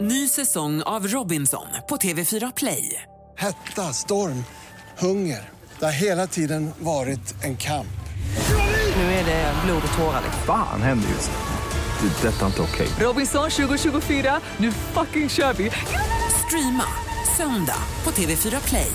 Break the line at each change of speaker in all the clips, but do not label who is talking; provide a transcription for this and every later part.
Ny säsong av Robinson på TV4 Play.
Hetta, storm, hunger. Det har hela tiden varit en kamp.
Nu är det blod och tårar. liksom.
Fan händer just nu. Det. är Detta är inte okej.
Robinson 2024, nu fucking kör vi! Streama söndag på TV4 Play.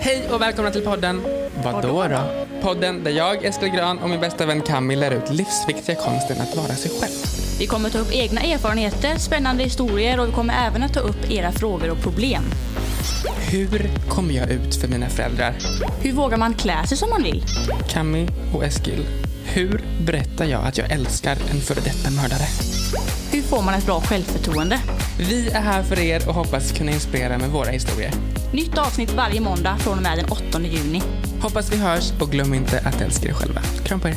Hej och välkomna till podden Vadå då? Podden där jag, Eskil Grön och min bästa vän Camille lär ut livsviktiga konsten att vara sig själv.
Vi kommer ta upp egna erfarenheter, spännande historier och vi kommer även att ta upp era frågor och problem.
Hur kommer jag ut för mina föräldrar?
Hur vågar man klä sig som man vill?
Cammy och Eskil. Hur berättar jag att jag älskar en före detta mördare?
Hur får man ett bra självförtroende?
Vi är här för er och hoppas kunna inspirera med våra historier.
Nytt avsnitt varje måndag från och med den 8 juni.
Hoppas vi hörs och glöm inte att älska er själva. Kram på er.